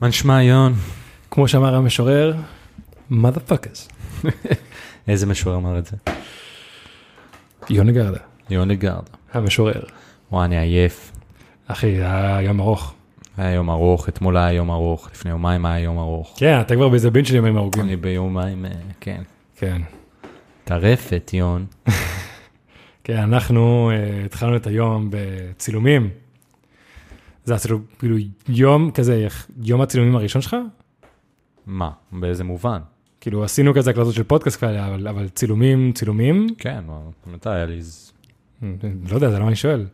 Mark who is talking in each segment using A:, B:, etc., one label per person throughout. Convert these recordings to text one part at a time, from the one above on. A: מה נשמע, יון?
B: כמו שאמר המשורר, mother fuckers,
A: איזה משורר אמר את זה?
B: יוני גרדה,
A: יון לגארד.
B: המשורר.
A: וואי, אני עייף.
B: אחי, זה היה יום ארוך.
A: היה יום ארוך, אתמול היה יום ארוך, לפני יומיים היה יום ארוך.
B: כן, אתה כבר באיזה בין של ימים ארוכים.
A: אני ביומיים, אה, כן.
B: כן.
A: טרפת, יון.
B: כן, אנחנו אה, התחלנו את היום בצילומים. זה היה אפילו כאילו יום כזה, יום הצילומים הראשון שלך?
A: מה? באיזה מובן?
B: כאילו עשינו כזה הקלטות של פודקאסט כאלה, אבל, אבל צילומים, צילומים?
A: כן, מה, מתי היה לי... ז-
B: לא יודע, זה לא מה אני שואל.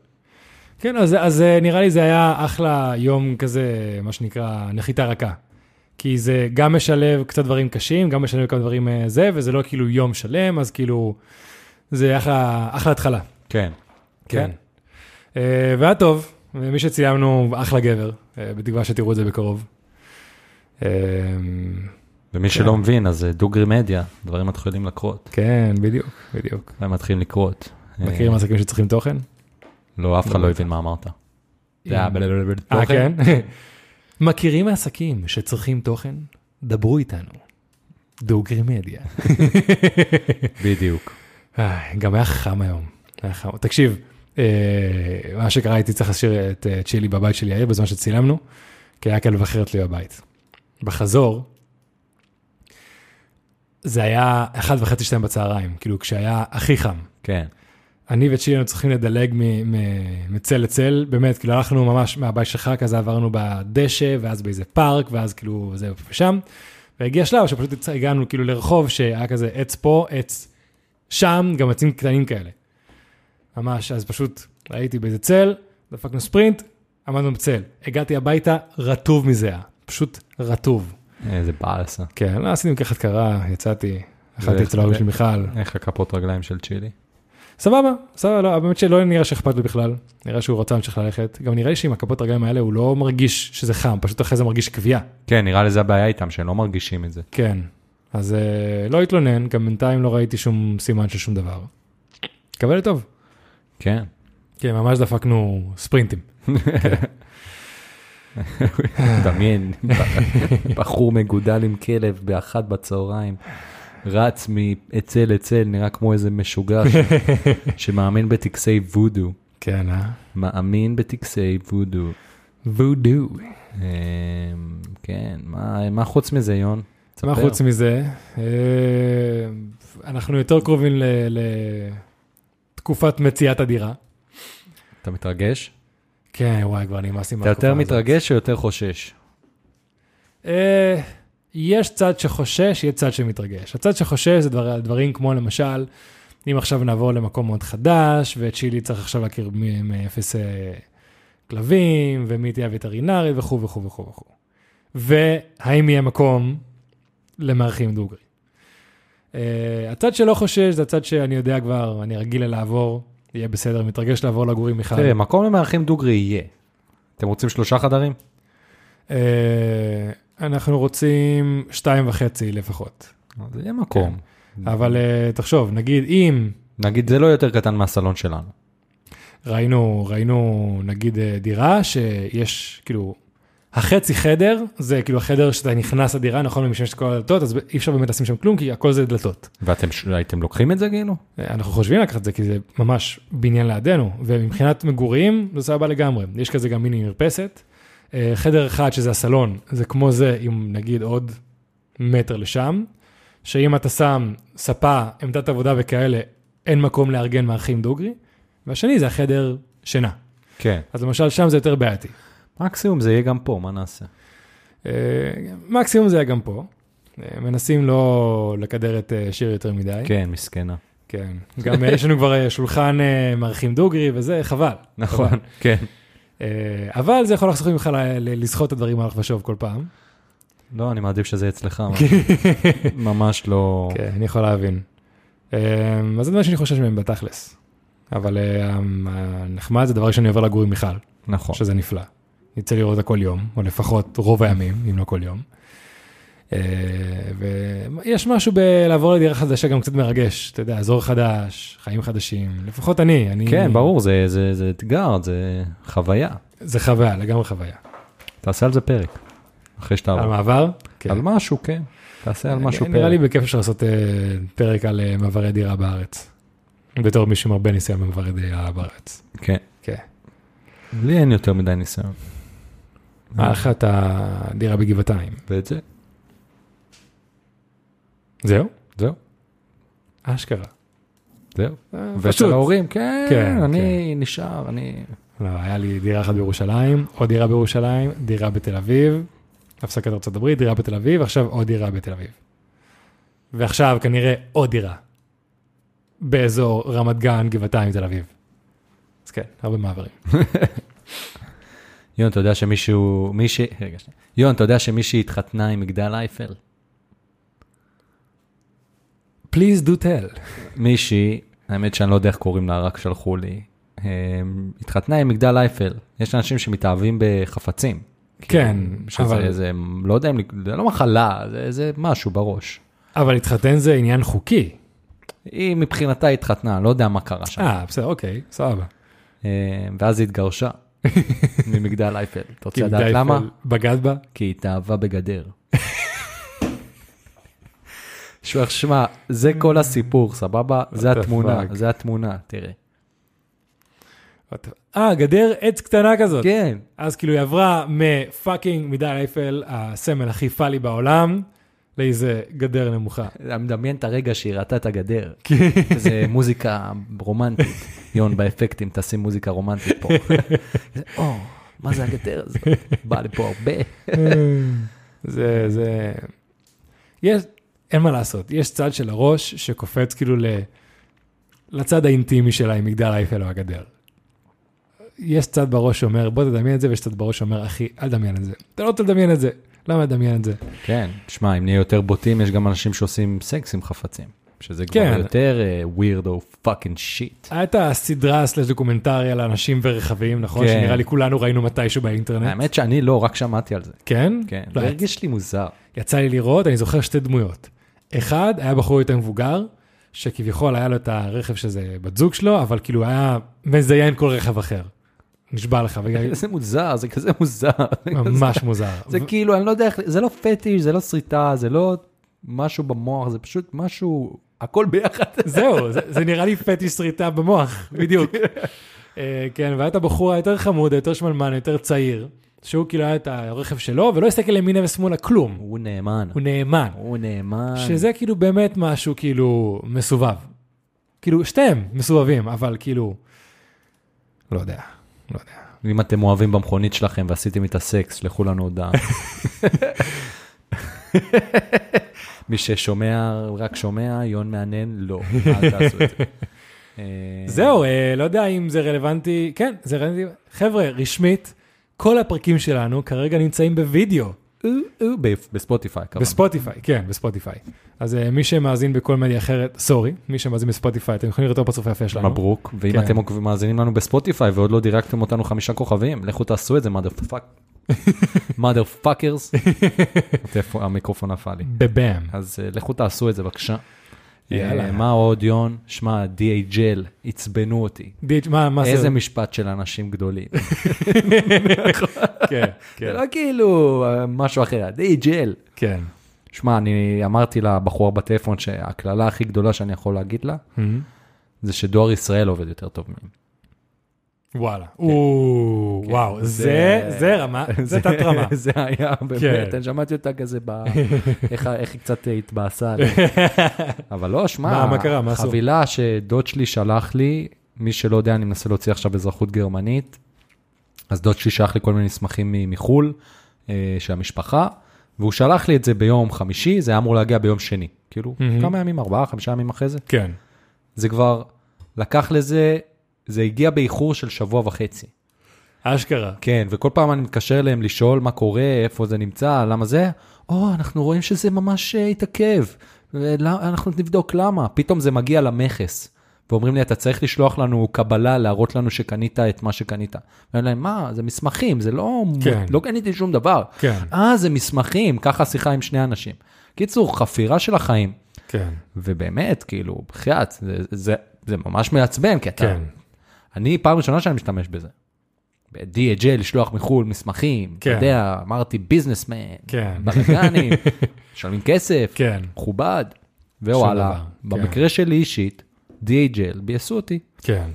B: כן, אז, אז אה, נראה לי זה היה אחלה יום כזה, מה שנקרא, נחיתה רכה. כי זה גם משלב קצת דברים קשים, גם משלב כמה דברים אה, זה, וזה לא כאילו יום שלם, אז כאילו, זה אחלה, אחלה התחלה.
A: כן. כן.
B: אה, והיה טוב, מי שצילמנו, אחלה גבר, אה, בתקווה שתראו את זה בקרוב. אה,
A: ומי שלא מבין, אז אה, דוגרי מדיה, דברים מתחילים לקרות.
B: כן, בדיוק, בדיוק.
A: הם מתחילים לקרות. אה,
B: מכירים עסקים שצריכים תוכן?
A: לא, אף אחד לא הבין מה אמרת. זה היה בלבלבל
B: אה,
A: תוכן.
B: כן? מכירים עסקים שצריכים תוכן? דברו איתנו. דוגרי מדיה.
A: בדיוק.
B: אה, גם היה חם היום. היה חם. תקשיב, אה, מה שקרה, הייתי צריך להשאיר את אה, צ'ילי בבית של יאיר בזמן שצילמנו, כי היה כלב אחרת לי בבית. בחזור, זה היה אחת וחצי שתיים בצהריים, כאילו כשהיה הכי חם.
A: כן.
B: אני וצ'ילי היינו צריכים לדלג מ- מ- מצל לצל, באמת, כאילו הלכנו ממש מהבית שלך, כזה עברנו בדשא, ואז באיזה פארק, ואז כאילו זה ושם. והגיע שלב שפשוט יצא- הגענו כאילו לרחוב שהיה כזה עץ פה, עץ שם, גם עצים קטנים כאלה. ממש, אז פשוט הייתי באיזה צל, דפקנו ספרינט, עמדנו בצל. הגעתי הביתה, רטוב מזיעה, פשוט רטוב.
A: איזה באסה.
B: כן, לא, עשיתי מקחת קרה, יצאתי, אכלתי
A: זה-
B: אצל ההורים של מיכל.
A: איך הכפות רגליים של צ'ילי?
B: סבבה, סבבה, לא, באמת שלא נראה שאכפת לו בכלל, נראה שהוא רצה להמשיך ללכת. גם נראה לי שעם הכפות רגליים האלה הוא לא מרגיש שזה חם, פשוט אחרי זה מרגיש כוויה.
A: כן, נראה לי זה הבעיה איתם, שהם לא מרגישים את זה.
B: כן, אז אה, לא התלונן, גם בינתיים לא ראיתי שום סימן של שום דבר. קבל לטוב.
A: כן.
B: כן, ממש דפקנו ספרינטים.
A: כן. דמיין, בחור מגודל עם כלב באחת בצהריים, רץ מעצה לצל, נראה כמו איזה משוגע ש- שמאמין בטקסי וודו,
B: כן, אה?
A: מאמין בטקסי וודו.
B: וודו.
A: אמ, כן, מה- מה חוץ מזה, יון?
B: מה
A: תספר.
B: חוץ מזה, אה, אנחנו יותר קרובים ל- לתקופת מציאת הדירה.
A: אתה מתרגש?
B: כן, וואי, כבר נמאס
A: אתה
B: לי מהתקופה הזאת.
A: יותר מתרגש או יותר חושש?
B: אה, יש צד שחושש, יהיה צד שמתרגש. הצד שחושש זה דבר, דברים כמו למשל, אם עכשיו נעבור למקום מאוד חדש, וצ'ילי צריך עכשיו להכיר מ- מאפס אה, כלבים, ומי תהיה הווטרינרית וכו' וכו' וכו' וכו'. והאם יהיה מקום למארחים דוגרי. אה, הצד שלא חושש זה הצד שאני יודע כבר, אני רגיל לעבור, יהיה בסדר, מתרגש לעבור לגור עם מיכל.
A: תראה, מקום למארחים דוגרי יהיה. אתם רוצים שלושה חדרים?
B: אה, אנחנו רוצים שתיים וחצי לפחות.
A: אז יהיה מקום.
B: אה, כן. אבל אה, תחשוב, נגיד אם
A: נגיד זה לא יותר קטן מהסלון שלנו.
B: ראינו, ראינו נגיד אה, דירה שיש כאילו, החצי חדר זה כאילו החדר שאתה נכנס לדירה, נכון, ומשמש את כל הדלתות, אז אי אפשר באמת לשים שם כלום, כי הכל זה דלתות.
A: ואתם ש- הייתם לוקחים את זה כאילו?
B: אה, אנחנו חושבים לקחת את זה, כי זה ממש בניין לידינו, ומבחינת מגורים זה סבבה לגמרי. יש כזה גם מיני מרפסת. אה, חדר אחד שזה הסלון, זה כמו זה עם נגיד עוד מטר לשם, שאם אתה שם ספה, עמדת עבודה וכאלה, אין מקום לארגן מארחים דוגרי, והשני זה החדר שינה.
A: כן.
B: אז למשל שם זה יותר בעייתי.
A: מקסימום זה יהיה גם פה, מה נעשה?
B: אה, מקסימום זה היה גם פה. אה, מנסים לא לקדר את אה, שיר יותר מדי.
A: כן, מסכנה.
B: כן. גם אה, יש לנו כבר אה, שולחן אה, מארחים דוגרי וזה, חבל. חבל.
A: כן.
B: אה, אבל זה יכול לחסוך ממך ל- ל- לסחוט את הדברים הלך ושוב כל פעם.
A: לא, אני מעדיף שזה יהיה אצלך, מה- ממש לא...
B: כן, אני יכול להבין. אה, אז זה דבר שאני חושש מהם בתכלס. אבל אה, הנחמד זה דבר שאני עובר לגור עם מיכל.
A: נכון.
B: שזה נפלא. יצא לראות אותה כל יום, או לפחות רוב הימים, אם לא כל יום. אה, ויש משהו בלעבור לדירה חדשה גם קצת מרגש, אתה יודע, אזור חדש, חיים חדשים, לפחות אני, אני...
A: כן, ברור, זה- זה זה אתגר, זה חוויה.
B: זה חוויה, לגמרי חוויה.
A: תעשה על זה פרק. אחרי שאתה...
B: על מעבר? כן. אה,
A: על משהו, כן. תעשה על משהו
B: נראה לי
A: פרק.
B: בכיף אפשר לעשות אה, פרק על אה, מעברי דירה בארץ. בתור מישהו עם הרבה ניסיון במעברי דירה בארץ.
A: כן.
B: כן.
A: לי אין יותר מדי ניסיון.
B: היה לך את אה, הדירה בגבעתיים.
A: ואת זה,
B: זהו?
A: זהו,
B: אשכרה.
A: זהו.
B: אה,
A: ואצל
B: פשוט.
A: ההורים, כן,
B: כן,
A: אני נשאר, אני...
B: לא, היה לי דירה אחת בירושלים, עוד דירה בירושלים, דירה בתל אביב, הפסקת ארצות הברית, דירה בתל אביב, עכשיו עוד דירה בתל אביב. ועכשיו כנראה עוד דירה. באזור רמת גן, גבעתיים, תל אביב. אז כן, הרבה מעברים.
A: יון, אתה יודע שמישהו... מישהי... רגע, שנייה. יון, אתה יודע שמישהי התחתנה עם מגדל אייפל?
B: Please do tell.
A: מישהי, האמת שאני לא יודע איך קוראים לה, רק שלחו לי, אמ, התחתנה עם מגדל אייפל. יש אנשים שמתאהבים בחפצים.
B: כן,
A: שזה
B: אבל-
A: אבל... איזה, לא יודע אם, זה לא מחלה, זה, זה משהו בראש.
B: אבל להתחתן זה עניין חוקי.
A: היא מבחינתה התחתנה, לא יודע מה קרה שם.
B: אה, בסדר, אוקיי, סבבה.
A: אמ, ואז היא התגרשה ממגדל אייפל. אתה רוצה לדעת
B: די
A: למה?
B: פל- כאילו, בגד בה?
A: כי היא התאהבה בגדר. שמע, שמע, זה כל הסיפור, סבבה? זה
B: What the
A: התמונה,
B: fuck?
A: זה התמונה, תראה.
B: אה, גדר עץ קטנה כזאת.
A: כן,
B: אז כאילו היא עברה מפאקינג מגדל אייפל, הסמל הכי פאלי בעולם, לאיזה גדר נמוכה.
A: אני מדמיין את הרגע שהיא ראתה את הגדר. זה מוזיקה רומנטית. יון, באפקטים תשים מוזיקה רומנטית פה. זה, או, מה זה הגדר הזאת? בא לפה הרבה.
B: זה, זה... יש, אין מה לעשות, יש צד של הראש שקופץ כאילו ל... לצד האינטימי שלה עם מגדל אייפל או הגדר. יש צד בראש שאומר, בוא תדמיין את זה, ויש צד בראש שאומר, אחי, אל תדמיין את זה. אתה לא תדמיין את זה, למה לדמיין את זה?
A: כן, תשמע, אם נהיה יותר בוטים, יש גם אנשים שעושים סקס עם חפצים. שזה כבר
B: כן.
A: יותר weird or fucking shit.
B: הייתה סדרה סלש דוקומנטרי על אנשים ורכבים, נכון?
A: כן.
B: שנראה לי כולנו ראינו מתישהו באינטרנט.
A: האמת שאני לא, רק שמעתי על זה.
B: כן?
A: כן,
B: לא,
A: זה הרגיש לי מוזר.
B: יצא לי לראות, אני זוכר שתי דמויות. אחד, היה בחור יותר מבוגר, שכביכול היה לו את הרכב שזה בת זוג שלו, אבל כאילו היה מזיין כל רכב אחר. נשבע לך, וגם-
A: זה מוזר, זה כזה מוזר.
B: ממש מוזר.
A: זה כאילו, אני לא יודע איך, זה לא פטיש, זה לא שריטה, זה לא משהו במוח, זה פשוט משהו, הכל ביחד.
B: זהו, זה- זה נראה לי פטיש שריטה במוח, בדיוק. אה, כן, והיה את הבחור היותר חמוד, היותר שמנמן, היותר צעיר, שהוא כאילו היה את הרכב שלו, ולא הסתכל ימינה ושמאלה, כלום.
A: הוא נאמן.
B: הוא נאמן.
A: הוא נאמן.
B: שזה כאילו באמת משהו כאילו מסובב. כאילו, שתיהם מסובבים, אבל כאילו, לא יודע,
A: כן.
B: לא יודע.
A: אם אתם אוהבים במכונית שלכם ועשיתם איתה סקס, לכו לנו הודעה. מי ששומע, רק שומע, יון מעניין, לא, אל תעשו את זה. אה,
B: זהו, אה, לא יודע אם זה רלוונטי, כן, זה רלוונטי. חבר'ה, רשמית, כל הפרקים שלנו כרגע נמצאים בווידאו,
A: אה, אה, ב- בספוטיפיי, כמובן.
B: בספוטיפיי, כן, בספוטיפיי. אז אה, מי שמאזין בכל מדיה אחרת, סורי, מי שמאזין בספוטיפיי, אתם יכולים לראות את הפרצוף היפה שלנו.
A: מברוק, ואם
B: כן.
A: אתם עוקב- מאזינים לנו בספוטיפיי ועוד לא דירקתם אותנו חמישה כוכבים, לכו תעשו את זה, mother fuck- mother fuckers. איפה המיקרופון נפל לי.
B: בבאם.
A: אז אה, לכו תעשו את זה, בבקשה.
B: יאללה.
A: יאללה. מה עוד, יון? שמע, DHL עצבנו אותי.
B: דיץ', מה, מה זה?
A: איזה משפט של אנשים גדולים.
B: כן,
A: זה
B: כן,
A: לא כאילו אה, משהו אחר, DHL.
B: כן.
A: שמע, אני אמרתי לבחורה בטלפון שהקללה הכי גדולה שאני יכול להגיד לה, זה שדואר ישראל עובד יותר טוב מהם.
B: וואלה. או, וואו, זה,
A: כן. זה-
B: זה רמה, זה תת רמה.
A: זה היה באמת,
B: כן.
A: אני שמעתי אותה כזה, ב- איך ה- איך היא קצת התבאסה. עליי. אבל לא, שמע,
B: מה- מה קרה? מה עשו?
A: חבילה שדוד שלי שלח לי, מי שלא יודע, אני מנסה להוציא עכשיו אזרחות גרמנית, אז דוד שלי שלח לי כל מיני מסמכים מ- מחו"ל, אה, של המשפחה, והוא שלח לי את זה ביום חמישי, זה היה אמור להגיע ביום שני. כאילו,
B: מהמם.
A: כמה ימים, ארבעה, חמישה ימים אחרי זה.
B: כן.
A: זה כבר לקח לזה, זה הגיע באיחור של שבוע וחצי.
B: אשכרה.
A: כן, וכל פעם אני מתקשר אליהם לשאול מה קורה, איפה זה נמצא, למה זה, או, אנחנו רואים שזה ממש אה, התעכב, ולא- אנחנו נבדוק למה. פתאום זה מגיע למכס, ואומרים לי, אתה צריך לשלוח לנו קבלה להראות לנו שקנית את מה שקנית. ואני להם, מה, זה מסמכים, זה לא,
B: כן.
A: לא קניתי שום דבר.
B: כן.
A: אה, זה מסמכים, ככה שיחה עם שני אנשים. קיצור, חפירה של החיים,
B: כן.
A: ובאמת, כאילו, בחייאת, זה, זה, זה ממש מעצבן, כי אתה...
B: כן.
A: אני פעם ראשונה שאני משתמש בזה. ב-DHL לשלוח מחו"ל מסמכים,
B: כן.
A: אתה יודע, אמרתי ביזנסמן,
B: כן.
A: בלאגנים, משלמים כסף,
B: כן.
A: מכובד, ווואלה,
B: דבר, כן.
A: במקרה שלי אישית, DHL ביאסו אותי,
B: כן.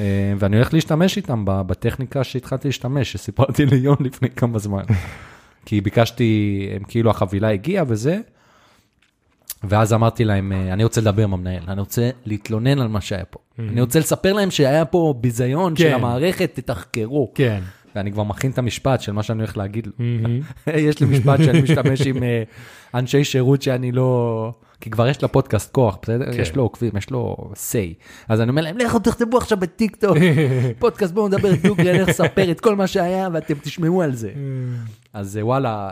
A: אה, ואני הולך להשתמש איתם ב- בטכניקה שהתחלתי להשתמש, שסיפרתי ליון לפני כמה זמן. כי ביקשתי, הם כאילו החבילה הגיעה וזה, ואז אמרתי להם, אה, אני רוצה לדבר עם המנהל, אני רוצה להתלונן על מה שהיה פה. אני רוצה לספר להם שהיה פה ביזיון של
B: כן.
A: המערכת, תתחקרו.
B: כן.
A: ואני כבר מכין את המשפט של מה שאני הולך להגיד לו.
B: מהמם.
A: יש לי משפט שאני משתמש עם אה, אנשי שירות שאני לא... כי כבר יש לפודקאסט כוח, בסדר?
B: כן.
A: יש לו עוקבים, יש לו say. אז אני אומר להם, לכו תכתבו עכשיו בטיקטוק, פודקאסט בואו נדבר את דוגרי, אני הולך לספר את כל מה שהיה ואתם תשמעו על זה. אז אה, וואלה...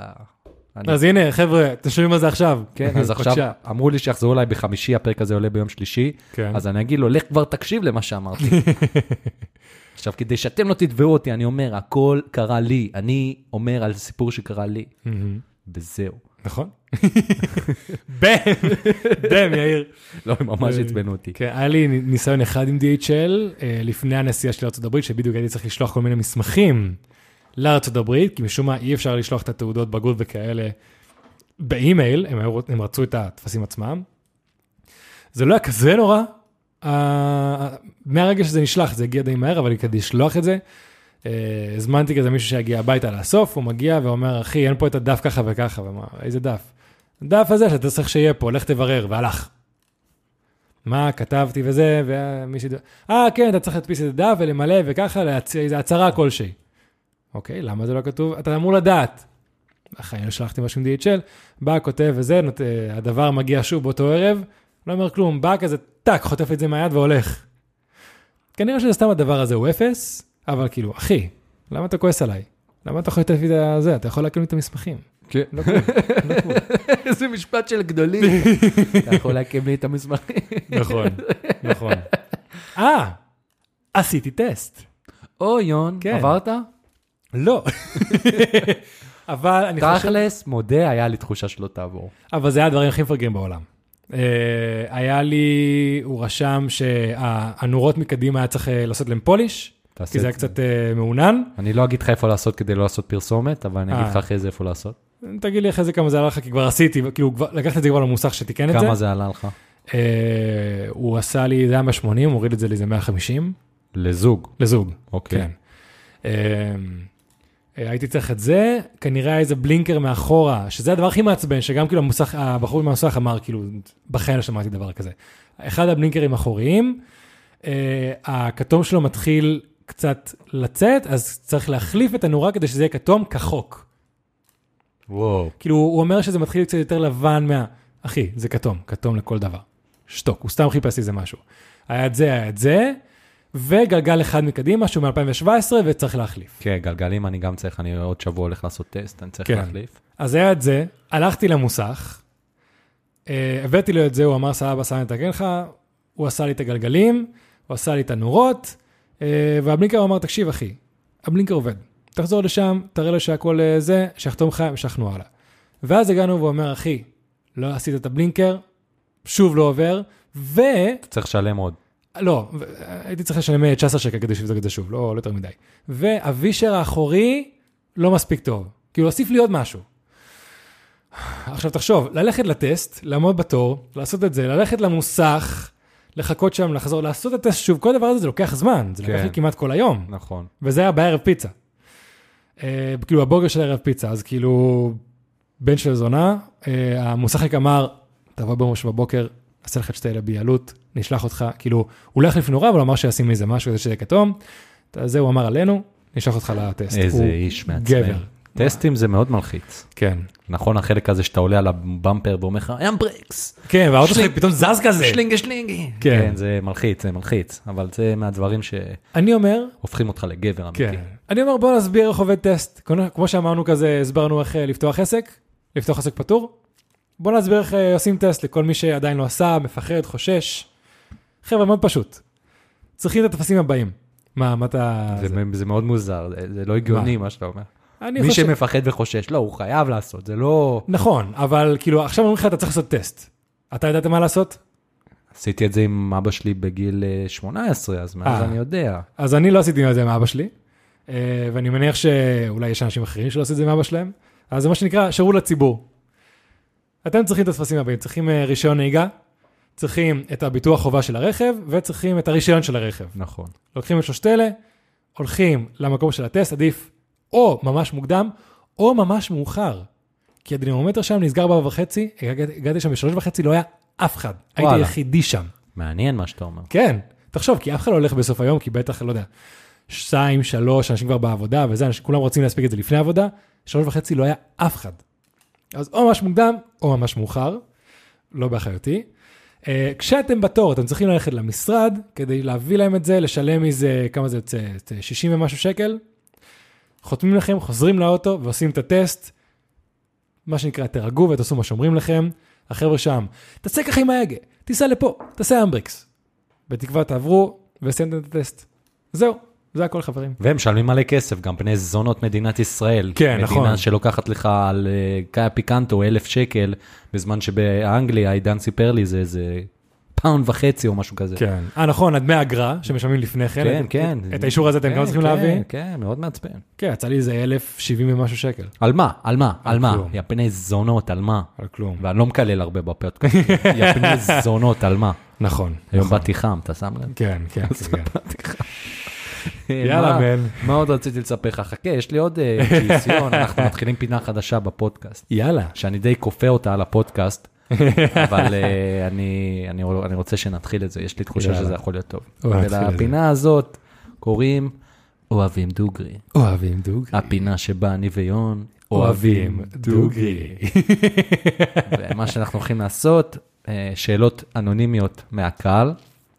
A: אני-
B: אז הנה, חבר'ה, אתם שומעים על זה עכשיו.
A: כן, אז עכשיו
B: בבקשה.
A: אמרו לי שיחזרו אליי בחמישי, הפרק הזה עולה ביום שלישי,
B: כן.
A: אז אני אגיד לו, לך כבר תקשיב למה שאמרתי. עכשיו, כדי שאתם לא תתבעו אותי, אני אומר, הכל קרה לי, אני אומר על סיפור שקרה לי,
B: מהמם.
A: וזהו.
B: נכון. בם, בם, יאיר.
A: לא, הם ממש עצבנו אותי.
B: כן, היה לי ניסיון אחד עם DHL אה, לפני הנסיעה שלי לארה"ב, שבדיוק הייתי צריך לשלוח כל מיני מסמכים לארה"ב, כי משום מה אי אפשר לשלוח את התעודות בגרות וכאלה באימייל, הם, היו, רוצ- הם רצו את הטפסים עצמם. זה לא היה כזה נורא, אה, מהרגע שזה נשלח, זה הגיע די מהר, אבל כדי לשלוח את זה, אה, הזמנתי כזה מישהו שיגיע הביתה לאסוף, הוא מגיע ואומר, אחי, אין פה את הדף ככה וככה, ואמר, איזה דף? הדף הזה שאתה צריך שיהיה פה, לך תברר, והלך. מה כתבתי וזה, ומי ש... אה, כן, אתה צריך להדפיס את הדף ולמלא וככה, להצ... איזו הצהרה כלשהי. אוקיי, למה זה לא כתוב? אתה אמור לדעת. אחרי לא שלחתי משהו עם DHL, בא, כותב וזה, נות... אה, הדבר מגיע שוב באותו ערב, לא אומר כלום, בא כזה, טאק, חוטף את זה מהיד והולך. כנראה שזה סתם הדבר הזה הוא אפס, אבל כאילו, אחי, למה אתה כועס עליי? למה אתה חוטף לי את זה? אתה יכול להקים לי את המסמכים.
A: כן.
B: לא כלום, לא כלום.
A: איזה משפט של גדולים. אתה יכול להקים לי את המסמכים.
B: נכון, נכון. אה, עשיתי טסט.
A: או, יון,
B: כן.
A: עברת?
B: לא. אבל אני חושב,
A: תכלס, מודה, היה לי תחושה שלא תעבור.
B: אבל זה היה הדברים הכי מפגרים בעולם. אה, היה לי, הוא רשם שהנורות מקדימה היה צריך אה, לעשות להם פוליש,
A: תעשה
B: כי זה
A: את
B: היה
A: זה.
B: קצת אה, מעונן.
A: אני לא אגיד לך איפה לעשות כדי לא לעשות פרסומת, אבל אני אגיד
B: אה.
A: לך אחרי זה איפה לעשות.
B: תגיד לי אחרי זה כמה זה עלה לך, כי כבר עשיתי, כאילו כבר- לקחת את זה כבר למוסך שתיקן את זה.
A: כמה זה עלה לך?
B: אה, הוא עשה לי, זה היה 180, הוא הוריד את זה לאיזה 150,
A: לזוג.
B: לזוג. כן.
A: אוקיי.
B: אמ, אה, הייתי צריך את זה, כנראה היה איזה בלינקר מאחורה, שזה הדבר הכי מעצבן, שגם כאילו המוסך, הבחור במוסך אמר, כאילו, בחיים לא שמעתי דבר כזה. אחד הבלינקרים אחוריים, אה, הכתום שלו מתחיל קצת לצאת, אז צריך להחליף את הנורה כדי שזה יהיה כתום כחוק.
A: וואו.
B: כאילו, הוא אומר שזה מתחיל קצת יותר לבן מה... אחי, זה כתום, כתום לכל דבר. שתוק, הוא סתם חיפש איזה משהו. היה את זה, היה את זה, וגלגל אחד מקדימה, שהוא מ-2017, וצריך להחליף.
A: כן, גלגלים אני גם צריך, אני עוד שבוע הולך לעשות טסט, אני צריך
B: כן.
A: להחליף.
B: אז היה את זה, הלכתי למוסך, אה, הבאתי לו את זה, הוא אמר, סבבה, סבבה, נתקן לך, הוא עשה לי את הגלגלים, הוא עשה לי את הנורות, אה, והבלינקר אמר, תקשיב, אחי, הבלינקר עובד, תחזור לשם, תראה לו שהכל אה, זה, שיחתום לך, המשכנו הלאה. ואז הגענו והוא אומר, אחי, לא עשית את הבלינקר, שוב לא עובר, ו...
A: צריך לשלם עוד.
B: לא, ו- הייתי צריך לשלם 19 שקל כדי שיבדוק את זה שוב, לא, לא יותר מדי. והווישר האחורי לא מספיק טוב. כאילו, הוסיף לי עוד משהו. עכשיו תחשוב, ללכת לטסט, לעמוד בתור, לעשות את זה, ללכת למוסך, לחכות שם, לחזור, לעשות את הטסט שוב, כל הדבר הזה זה לוקח זמן, זה לקח
A: כן.
B: לי כמעט כל היום.
A: נכון.
B: וזה היה בערב פיצה. אה, כאילו הבוגר של ערב פיצה, אז כאילו, בן של זונה, אה, המוסכניק אמר, תבוא ביום ראשון בבוקר, נעשה לך את שתי אלה ביעלות, נשלח אותך, כאילו, הוא לא החליף נורא, אבל הוא אמר שישים מזה משהו כדי שזה יהיה כתום, אתה- זה הוא אמר עלינו, נשלח אותך לטסט.
A: איזה
B: הוא
A: איש
B: גבר.
A: מעצבן. טסטים זה מאוד מלחיץ.
B: כן.
A: נכון, החלק הזה שאתה עולה על הבמפר ואומר לך, ים ברקס,
B: כן, והאוטו
A: שלי-
B: שלך פתאום זז כזה.
A: שלינגה שלינגי.
B: כן.
A: כן, זה מלחיץ, זה מלחיץ, אבל זה מהדברים שהופכים
B: אני אומר,
A: אותך לגבר אמיתי.
B: כן. אני אומר, בוא נסביר איך עובד טסט. כמו- כמו שאמרנו כזה, הסברנו איך אה, לפתוח עסק, לפתוח עסק פטור. בוא נסביר איך אה, עושים טסט לכל מי שעדיין לא עשה, מפחד, חושש. חבר'ה, מאוד פשוט. צריכים את הטפסים הבאים. מה, מה אתה...
A: זה-
B: זה-
A: זה מאוד מוזר, זה- זה לא הגיוני מה שאתה אומר.
B: אני
A: מי
B: חושב-
A: שמפחד וחושש, לא, הוא חייב לעשות, זה לא...
B: נכון, אבל כאילו, עכשיו אומרים לך, אתה צריך לעשות טסט. אתה ידעת מה לעשות?
A: עשיתי את זה עם אבא שלי בגיל אה, 18, אז מאז
B: אה.
A: אני יודע.
B: אז אני לא עשיתי את זה עם אבא שלי. אה, ואני מניח שאולי יש אנשים אחרים שלא עושים את זה עם אבא שלהם, אז זה מה שנקרא שירות לציבור. אתם צריכים את הטפסים הבאים, צריכים אה, רישיון נהיגה, צריכים את הביטוח חובה של הרכב, וצריכים את הרישיון של הרכב.
A: נכון.
B: לוקחים את שלושת אלה, הולכים למקום של הטסט, עדיף או ממש מוקדם, או ממש מאוחר. כי הדינמומטר שם נסגר בארבע וחצי, הגעתי- הגעתי שם בשלוש וחצי, לא היה אף אחד. הייתי
A: וואלה.
B: היחידי שם.
A: מעניין מה שאתה אומר.
B: כן, תחשוב, כי אף אחד לא הולך בסוף היום, כי בטח, לא יודע, שתיים, שלוש, אנשים כבר בעבודה וזה, אנשים, כולם רוצים להספיק את זה לפני עבודה, שלוש וחצי לא היה אף אחד. אז או ממש מוקדם, או ממש מאוחר, לא באחריותי. אה, כשאתם בתור, אתם צריכים ללכת למשרד כדי להביא להם את זה, לשלם מזה, כמה זה יוצא? זה 60 ומשהו שקל. חותמים לכם, חוזרים לאוטו ועושים את הטסט. מה שנקרא, תירגעו ותעשו מה שאומרים לכם. החבר'ה שם, תעשה ככה עם ההגה, תיסע לפה, תעשה אמבריקס. בתקווה תעברו וסיימתם את הטסט. זהו, זה הכל חברים.
A: והם משלמים מלא כסף, גם בני זונות מדינת ישראל.
B: כן, נכון.
A: מדינה שלוקחת לך על אה, קאיה פיקנטו אלף שקל, בזמן שבאנגליה, עידן סיפר לי, זה איזה פאונד וחצי או משהו כזה.
B: כן. אה, נכון, הדמי האגרה שמשלמים לפני כן.
A: כן,
B: את-
A: כן.
B: את האישור הזה אתם גם
A: כן,
B: צריכים
A: כן,
B: להביא?
A: כן, מאוד מעצבן.
B: כן, יצא לי איזה 1,070 ומשהו שקל.
A: על מה? על מה? על מה?
B: כלום.
A: יא בני זונות, על מה?
B: על כלום.
A: ואני לא מקלל הרבה בפודקאסט, יא בני זונות, על מה?
B: נכון.
A: היום
B: נכון.
A: באתי חם, אתה שם לב?
B: כן, כן, כן.
A: מה-
B: יאללה, מן.
A: מה עוד רציתי לספר לך? חכה, יש לי עוד אה, ציון, אנחנו מתחילים פינה חדשה בפודקאסט.
B: יאללה.
A: שאני די כופה אותה על הפודקאסט, אבל אה, אני, אני, אני רוצה שנתחיל את זה, יש לי תחושה
B: יאללה.
A: שזה יכול להיות טוב.
B: בוא נתחיל את זה.
A: ולפינה הזאת קוראים אוהבים דוגרי.
B: אוהבים דוגרי.
A: הפינה שבה אני ויון
B: אוהבים דוגרי.
A: ומה שאנחנו הולכים לעשות, אה, שאלות אנונימיות מהקהל,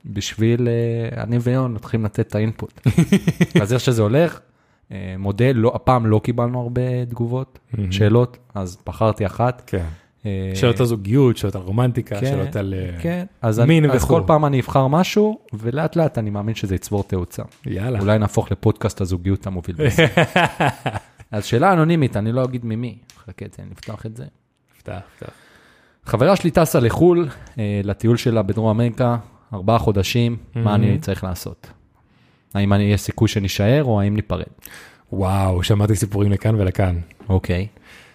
A: בשביל אה, אני ויון נתחיל לתת את האינפוט. אז איך שזה הולך, אה, מודה, לא, הפעם לא קיבלנו הרבה תגובות,
B: מהמם.
A: שאלות, אז בחרתי אחת.
B: כן.
A: אה,
B: שאלות על זוגיות, שאלות על רומנטיקה,
A: כן,
B: שאלות על... אה,
A: כן, אז, מין
B: מין
A: אני, אז
B: וכו'.
A: כל פעם אני אבחר משהו, ולאט לאט אני מאמין שזה יצבור תאוצה.
B: יאללה.
A: אולי נהפוך לפודקאסט הזוגיות המוביל בישראל. אז שאלה אנונימית, אני לא אגיד ממי. חכה, תן לי לפתוח את זה.
B: פתח, פתח.
A: חברה שלי טסה לחו"ל, אה, לטיול שלה בדרום אמריקה, ארבעה חודשים, מה אני
B: מהמם.
A: צריך לעשות? האם אני- יש סיכוי שנישאר, או האם ניפרד?
B: וואו, שמעתי סיפורים לכאן ולכאן.
A: אוקיי.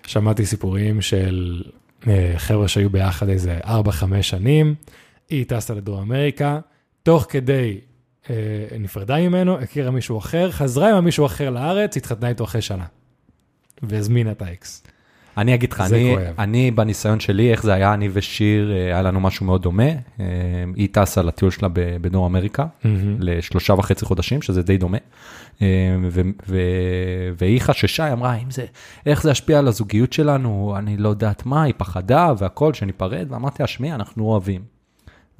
B: שמעתי סיפורים של אה, חבר'ה שהיו ביחד איזה 4-5 שנים, היא טסה לדרום אמריקה, תוך כדי אה, נפרדה ממנו, הכירה מישהו אחר, חזרה עם מישהו אחר לארץ, התחתנה איתו אחרי שנה. והזמינה את האקס.
A: אני אגיד לך,
B: זה
A: אני,
B: כואב.
A: אני בניסיון שלי, איך זה היה, אני ושיר, אה, היה לנו משהו מאוד דומה. אה, היא טסה לטיול שלה ב- בדרום אמריקה, לשלושה וחצי חודשים, שזה די דומה. אה, ו- ו- והיא חששה, היא אמרה, "האם זה, איך זה ישפיע על הזוגיות שלנו, אני לא יודעת מה, היא פחדה והכל, שניפרד, ואמרתי לה, שמי, אנחנו אוהבים,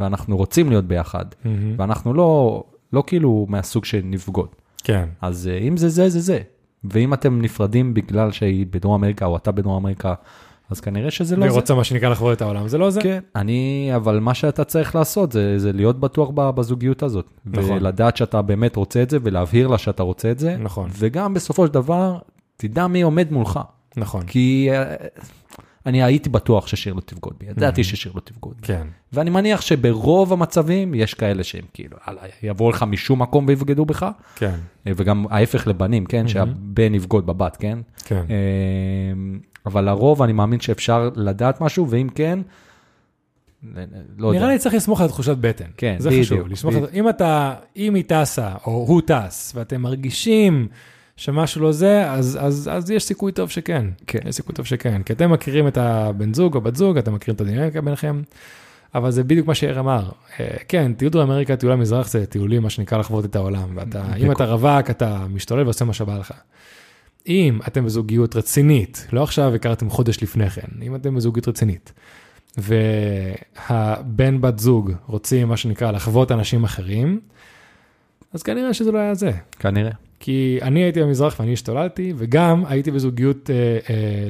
A: ואנחנו רוצים להיות ביחד,
B: מהמם.
A: ואנחנו לא, לא כאילו מהסוג של נפגות.
B: כן.
A: אז אה, אם זה זה, זה זה. ואם אתם נפרדים בגלל שהיא בדרום אמריקה, או אתה בדרום אמריקה, אז כנראה שזה לא
B: והיא
A: זה.
B: רוצה מה שנקרא לחוות את העולם, זה לא זה?
A: כן, אני, אבל מה שאתה צריך לעשות זה, זה להיות בטוח ב- בזוגיות הזאת.
B: נכון.
A: נכון. ולדעת שאתה באמת רוצה את זה, ולהבהיר לה שאתה רוצה את זה.
B: נכון.
A: וגם בסופו של דבר, תדע מי עומד מולך.
B: נכון.
A: כי אה, אני הייתי בטוח ששיר לא תבגוד בי, ידעתי ששיר לא תבגוד בי.
B: Mm-hmm. כן.
A: ואני מניח שברוב המצבים יש כאלה שהם כאילו, "הלאה, יבואו לך משום מקום ויבגדו בך,
B: כן.
A: אה, וגם ההפך לבנים,
B: Mm-hmm.
A: כן? שהבן יבגוד בבת, כן?
B: כן.
A: אמ, אבל לרוב אני מאמין שאפשר לדעת משהו, ואם כן, לא יודע.
B: נראה לי צריך לסמוך על תחושת בטן.
A: כן,
B: זה
A: בדיוק,
B: חשוב, לסמוך על...
A: בדיוק.
B: אם אתה, אם היא טסה, או הוא טס, ואתם מרגישים שמשהו לא זה, אז, אז, אז יש סיכוי טוב שכן.
A: כן.
B: יש סיכוי טוב שכן. כי אתם מכירים את הבן זוג או בת זוג, אתם מכירים את הדינמיקה ביניכם, אבל זה בדיוק מה שאיר אמר. אה, כן, טיול דרום אמריקה, טיול המזרח, זה טיולים, מה שנקרא לחוות את העולם. ואתה, אם אתה רווק, אתה משתולל ועושה מה שבא לך. אם אתם בזוגיות רצינית, לא עכשיו הכרתם חודש לפני כן, אם אתם בזוגיות רצינית, והבן בת זוג רוצים מה שנקרא לחוות אנשים אחרים, אז כנראה שזה לא היה זה.
A: כנראה.
B: כי אני הייתי במזרח ואני השתוללתי, וגם הייתי בזוגיות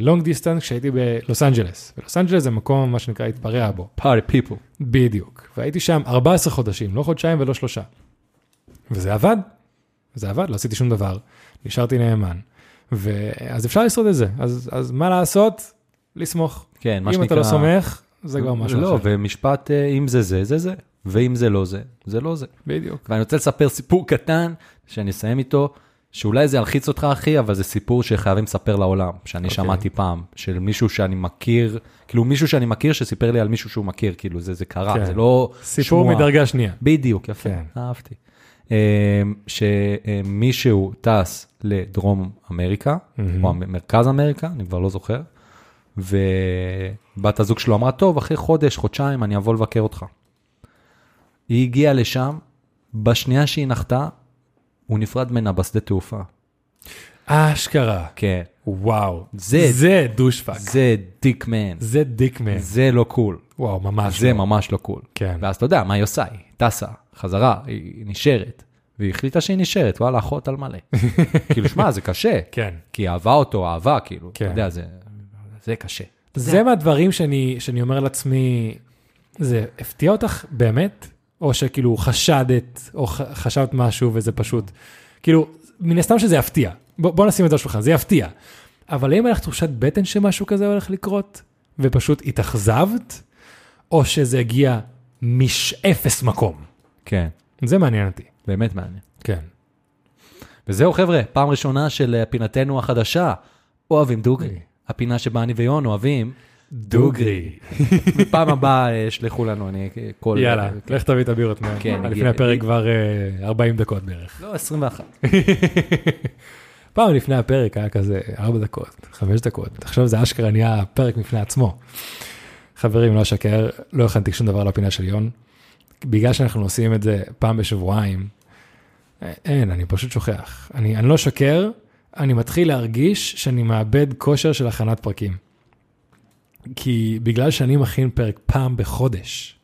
B: לונג uh, דיסטנס כשהייתי בלוס אנג'לס. ולוס אנג'לס זה מקום, מה שנקרא, התפרע בו.
A: פארי פיפול.
B: בדיוק. והייתי שם 14 חודשים, לא חודשיים ולא שלושה. וזה עבד. זה עבד, לא עשיתי שום דבר. נשארתי נאמן. ואז אפשר לשרוד את זה. אז, אז מה לעשות? לסמוך.
A: כן,
B: אם
A: מה שנקרא...
B: אתה לא סומך, זה כבר משהו
A: לא,
B: אחר.
A: ומשפט, אה, אם זה זה, זה זה, ואם זה לא זה, זה לא זה.
B: בדיוק.
A: ואני רוצה לספר סיפור קטן, שאני אסיים איתו, שאולי זה ילחיץ אותך, אחי, אבל זה סיפור שחייבים לספר לעולם, שאני okay. שמעתי פעם, של מישהו שאני מכיר, כאילו מישהו שאני מכיר שסיפר לי על מישהו שהוא מכיר, כאילו זה, זה קרה,
B: כן.
A: זה לא
B: סיפור
A: שמועה.
B: מדרגה שנייה.
A: בדיוק, יפה,
B: כן.
A: אהבתי. אמ, שמישהו טס לדרום אמריקה,
B: מהמם.
A: או המ- מרכז אמריקה, אני כבר לא זוכר, ובת הזוג שלו אמרה, טוב, אחרי חודש, חודשיים, אני אבוא לבקר אותך. היא הגיעה לשם, בשנייה שהיא נחתה, הוא נפרד ממנה בשדה תעופה.
B: אשכרה.
A: כן.
B: וואו.
A: זה-
B: זה דושפק.
A: זה דיק מן,
B: זה דיקמן.
A: זה לא קול,
B: וואו, ממש.
A: זה
B: לא.
A: ממש לא קול.
B: כן.
A: ואז אתה יודע, מה היא עושה? היא טסה, חזרה, היא נשארת. והיא החליטה שהיא נשארת, וואלה, אחות על מלא. כאילו, שמע, זה קשה.
B: כן.
A: כי היא אהבה אותו, אהבה, כאילו, אתה
B: כן.
A: יודע, זה- זה קשה.
B: זה מהדברים שאני, שאני אומר לעצמי, זה הפתיע אותך באמת? או שכאילו חשדת, או ח, חשבת משהו וזה פשוט, כאילו, מן הסתם שזה יפתיע. בוא, בוא נשים את זה על השולחן, זה יפתיע. אבל האם היה לך תחושת בטן שמשהו כזה הולך לקרות, ופשוט התאכזבת, או שזה הגיע משאפס מקום?
A: כן,
B: זה מעניין אותי.
A: באמת מעניין.
B: כן.
A: וזהו, חבר'ה, פעם ראשונה של אה, פינתנו החדשה, אוהבים דוגרי. הפינה שבה אני ויון אוהבים,
B: דוגרי.
A: פעם הבאה אה, שלחו לנו, אני אה, כל...
B: יאללה, לך תביא את הבירות מה...
A: כן,
B: לפני
A: הגיע-
B: הפרק כבר אה, 40 דקות בערך.
A: לא, 21.
B: פעם לפני הפרק היה כזה 4 דקות, 5 דקות, עכשיו זה אשכרה נהיה פרק בפני עצמו. חברים, לא אשקר, לא הכנתי שום דבר לפינה של יון. בגלל שאנחנו עושים את זה פעם בשבועיים, א- אין, אני פשוט שוכח. אני, אני לא אשקר, אני מתחיל להרגיש שאני מאבד כושר של הכנת פרקים. כי בגלל שאני מכין פרק פעם בחודש,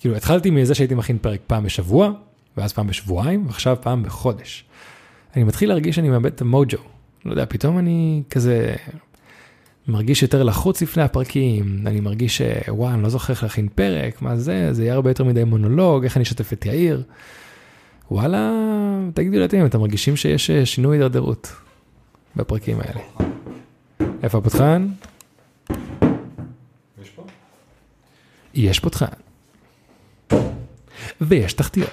B: כאילו התחלתי מזה שהייתי מכין פרק פעם בשבוע, ואז פעם בשבועיים, ועכשיו פעם בחודש. אני מתחיל להרגיש שאני מאבד את המוג'ו. לא יודע, פתאום אני כזה מרגיש יותר לחוץ לפני הפרקים, אני מרגיש שוואי, אני לא זוכר איך להכין פרק, מה זה, זה יהיה הרבה יותר מדי מונולוג, איך אני אשתף את יאיר. וואלה, תגידו לי אתם, אם אתם מרגישים שיש אה, שינוי הידרדרות בפרקים האלה. איפה הפותחן?
A: יש פה?
B: יש פותחן. ויש תחתיות.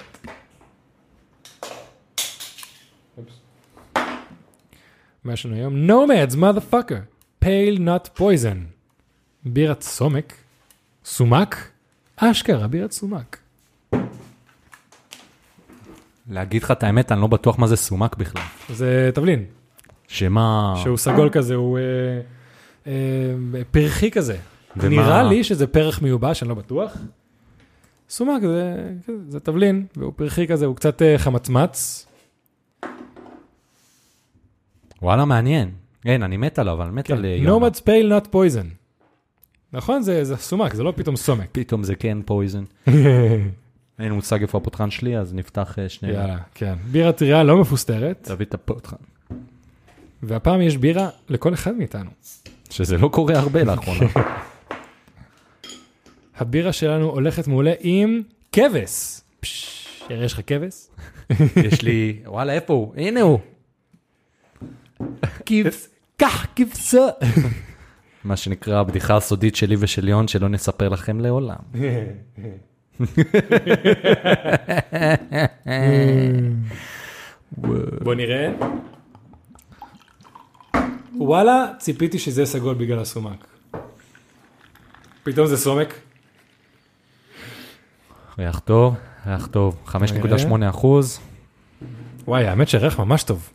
B: מה יש לנו היום? Nomads, motherfucker. pale not poison. בירת סומק. סומק? אשכרה, בירת סומק.
A: להגיד לך את האמת, אני לא בטוח מה זה סומק בכלל.
B: זה תבלין,
A: אה. שמה...
B: שהוא סגול כזה, הוא אה, אה, פרחי כזה.
A: ומה-
B: נראה לי שזה פרח מיובש, אני לא בטוח. סומק זה, זה תבלין, והוא פרחי כזה, הוא קצת אה, חמצמץ.
A: וואלה, מעניין. אין, אני מת עליו, אני מת על... אה, יונה.
B: כן. Nomads pale not poison. נכון, זה, זה סומק, זה לא פתאום סומק.
A: פתאום זה כן פויזן. אין מושג איפה הפותחן שלי, אז נפתח אה, שנייה.
B: יאללה, כן. בירה טריה לא מפוסטרת,
A: תביא את הפותחן.
B: והפעם יש בירה לכל אחד מאיתנו.
A: שזה לא קורה הרבה לאחרונה.
B: הבירה שלנו הולכת מעולה עם כבש. פשש, יראה, יש לך כבש?
A: יש לי... וואלה, איפה הוא? הנה הוא. כבש... קח כבשה. מה שנקרא הבדיחה הסודית שלי ושל יון, שלא נספר לכם לעולם.
B: בוא נראה. וואלה, ציפיתי שזה סגול בגלל הסומק. פתאום זה סומק.
A: ריח טוב, ריח טוב. 5.8 אחוז.
B: וואי, האמת שהריח ממש טוב.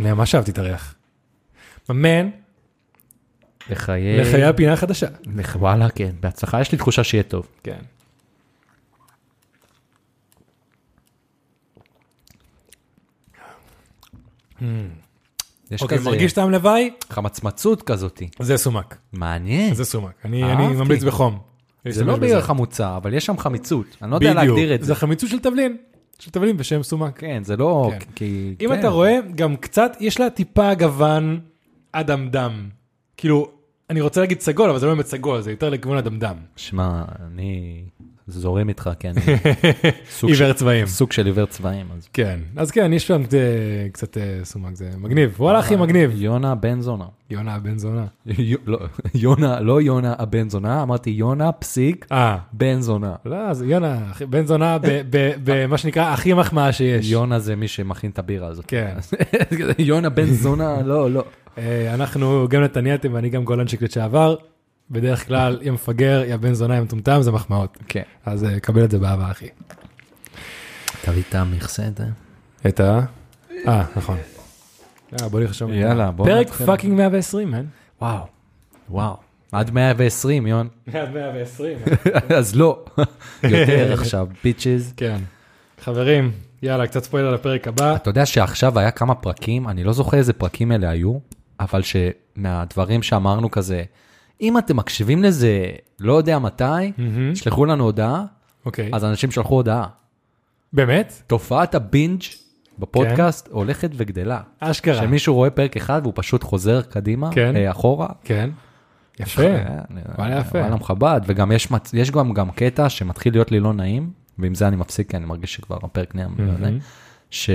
B: אני ממש אהבתי את הריח. אמן,
A: אה. לחיי...
B: לחיי הפינה החדשה.
A: לח- וואלה, כן. בהצלחה, יש לי תחושה שיהיה טוב.
B: כן.
A: יש
B: אוקיי,
A: כזה
B: מרגיש טעם לוואי?
A: חמצמצות כזאתי.
B: זה סומק.
A: מעניין.
B: זה סומק. אני
A: אהבתי.
B: אני ממליץ בחום.
A: זה
B: להשתמש
A: לא
B: בזה.
A: בעיר חמוצה, אבל יש שם חמיצות. אני לא יודע להגדיר את
B: בדיוק.
A: זה.
B: זה חמיצות של תבלין. של תבלין בשם סומק.
A: כן, זה לא...
B: כן.
A: כי...
B: אם
A: כן.
B: אתה רואה, גם קצת, יש לה טיפה גוון אדמדם. כאילו, אני רוצה להגיד סגול, אבל זה לא באמת סגול, זה יותר לכיוון אדמדם.
A: שמע, אני זורם איתך, כן. סוג של-
B: עיוור צבעים.
A: סוג של עיוור צבעים. אז-
B: כן, אז כן, יש שם אה, קצת אה, סומק, זה מגניב. וואלה,
A: אה.
B: אחי, מגניב.
A: יונה בן זונה.
B: יונה בן זונה.
A: יו- לא, יונה, לא יונה הבן זונה, אמרתי יונה פסיק
B: אה,
A: בן זונה.
B: לא, זה יונה, אחי, בן זונה ב- ב- במה שנקרא הכי מחמאה שיש.
A: יונה זה מי שמכין את הבירה הזאת.
B: כן.
A: יונה בן זונה, לא, לא.
B: אה, אנחנו גם נתניאתם ואני גם גולנצ'יק לשעבר. בדרך כלל, יא מפגר, יא בן זונה, יא מטומטם, זה מחמאות.
A: כן.
B: אז אה, קבל את זה באהבה, אחי.
A: תביא את המכסה, אתה.
B: את ה... אה, נכון. יאללה, אה, בוא נחשוב.
A: יאללה, בוא
B: פרק
A: נתחיל.
B: פאקינג 120, מן.
A: וואו, וואו. עד 120, יון.
B: 120.
A: אז לא. יותר עכשיו, ביצ'ז.
B: כן. חברים, יאללה, קצת ספוילר לפרק הבא.
A: אתה יודע שעכשיו היה כמה פרקים, אני לא זוכר איזה פרקים אלה היו, אבל שמהדברים שאמרנו כזה, אם אתם מקשיבים לזה, לא יודע מתי,
B: מהמם.
A: שלחו לנו הודעה,
B: אוקיי.
A: אז אנשים שלחו הודעה.
B: באמת?
A: תופעת הבינג'
B: כן.
A: בפודקאסט הולכת וגדלה.
B: אשכרה.
A: שמישהו רואה פרק אחד והוא פשוט חוזר קדימה,
B: כן.
A: אה, אחורה.
B: כן. יפה. וואלה, יפה.
A: אה, וואלה מכבד, וגם יש, מצ- יש גם, גם קטע שמתחיל להיות לי לא נעים, ועם זה אני מפסיק, כי אני מרגיש שכבר הפרק נהיה לא נעים. ש...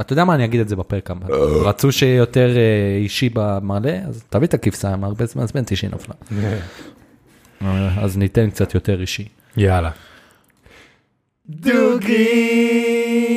A: אתה יודע מה, אני אגיד את זה בפרק הבא. רצו שיהיה יותר אה, אישי במעלה, אז תביא את הכבשה, אמר, הרבה זמן זמן אישי נפלה.
B: אה.
A: אז ניתן קצת יותר אישי.
B: יאללה. דוגרי!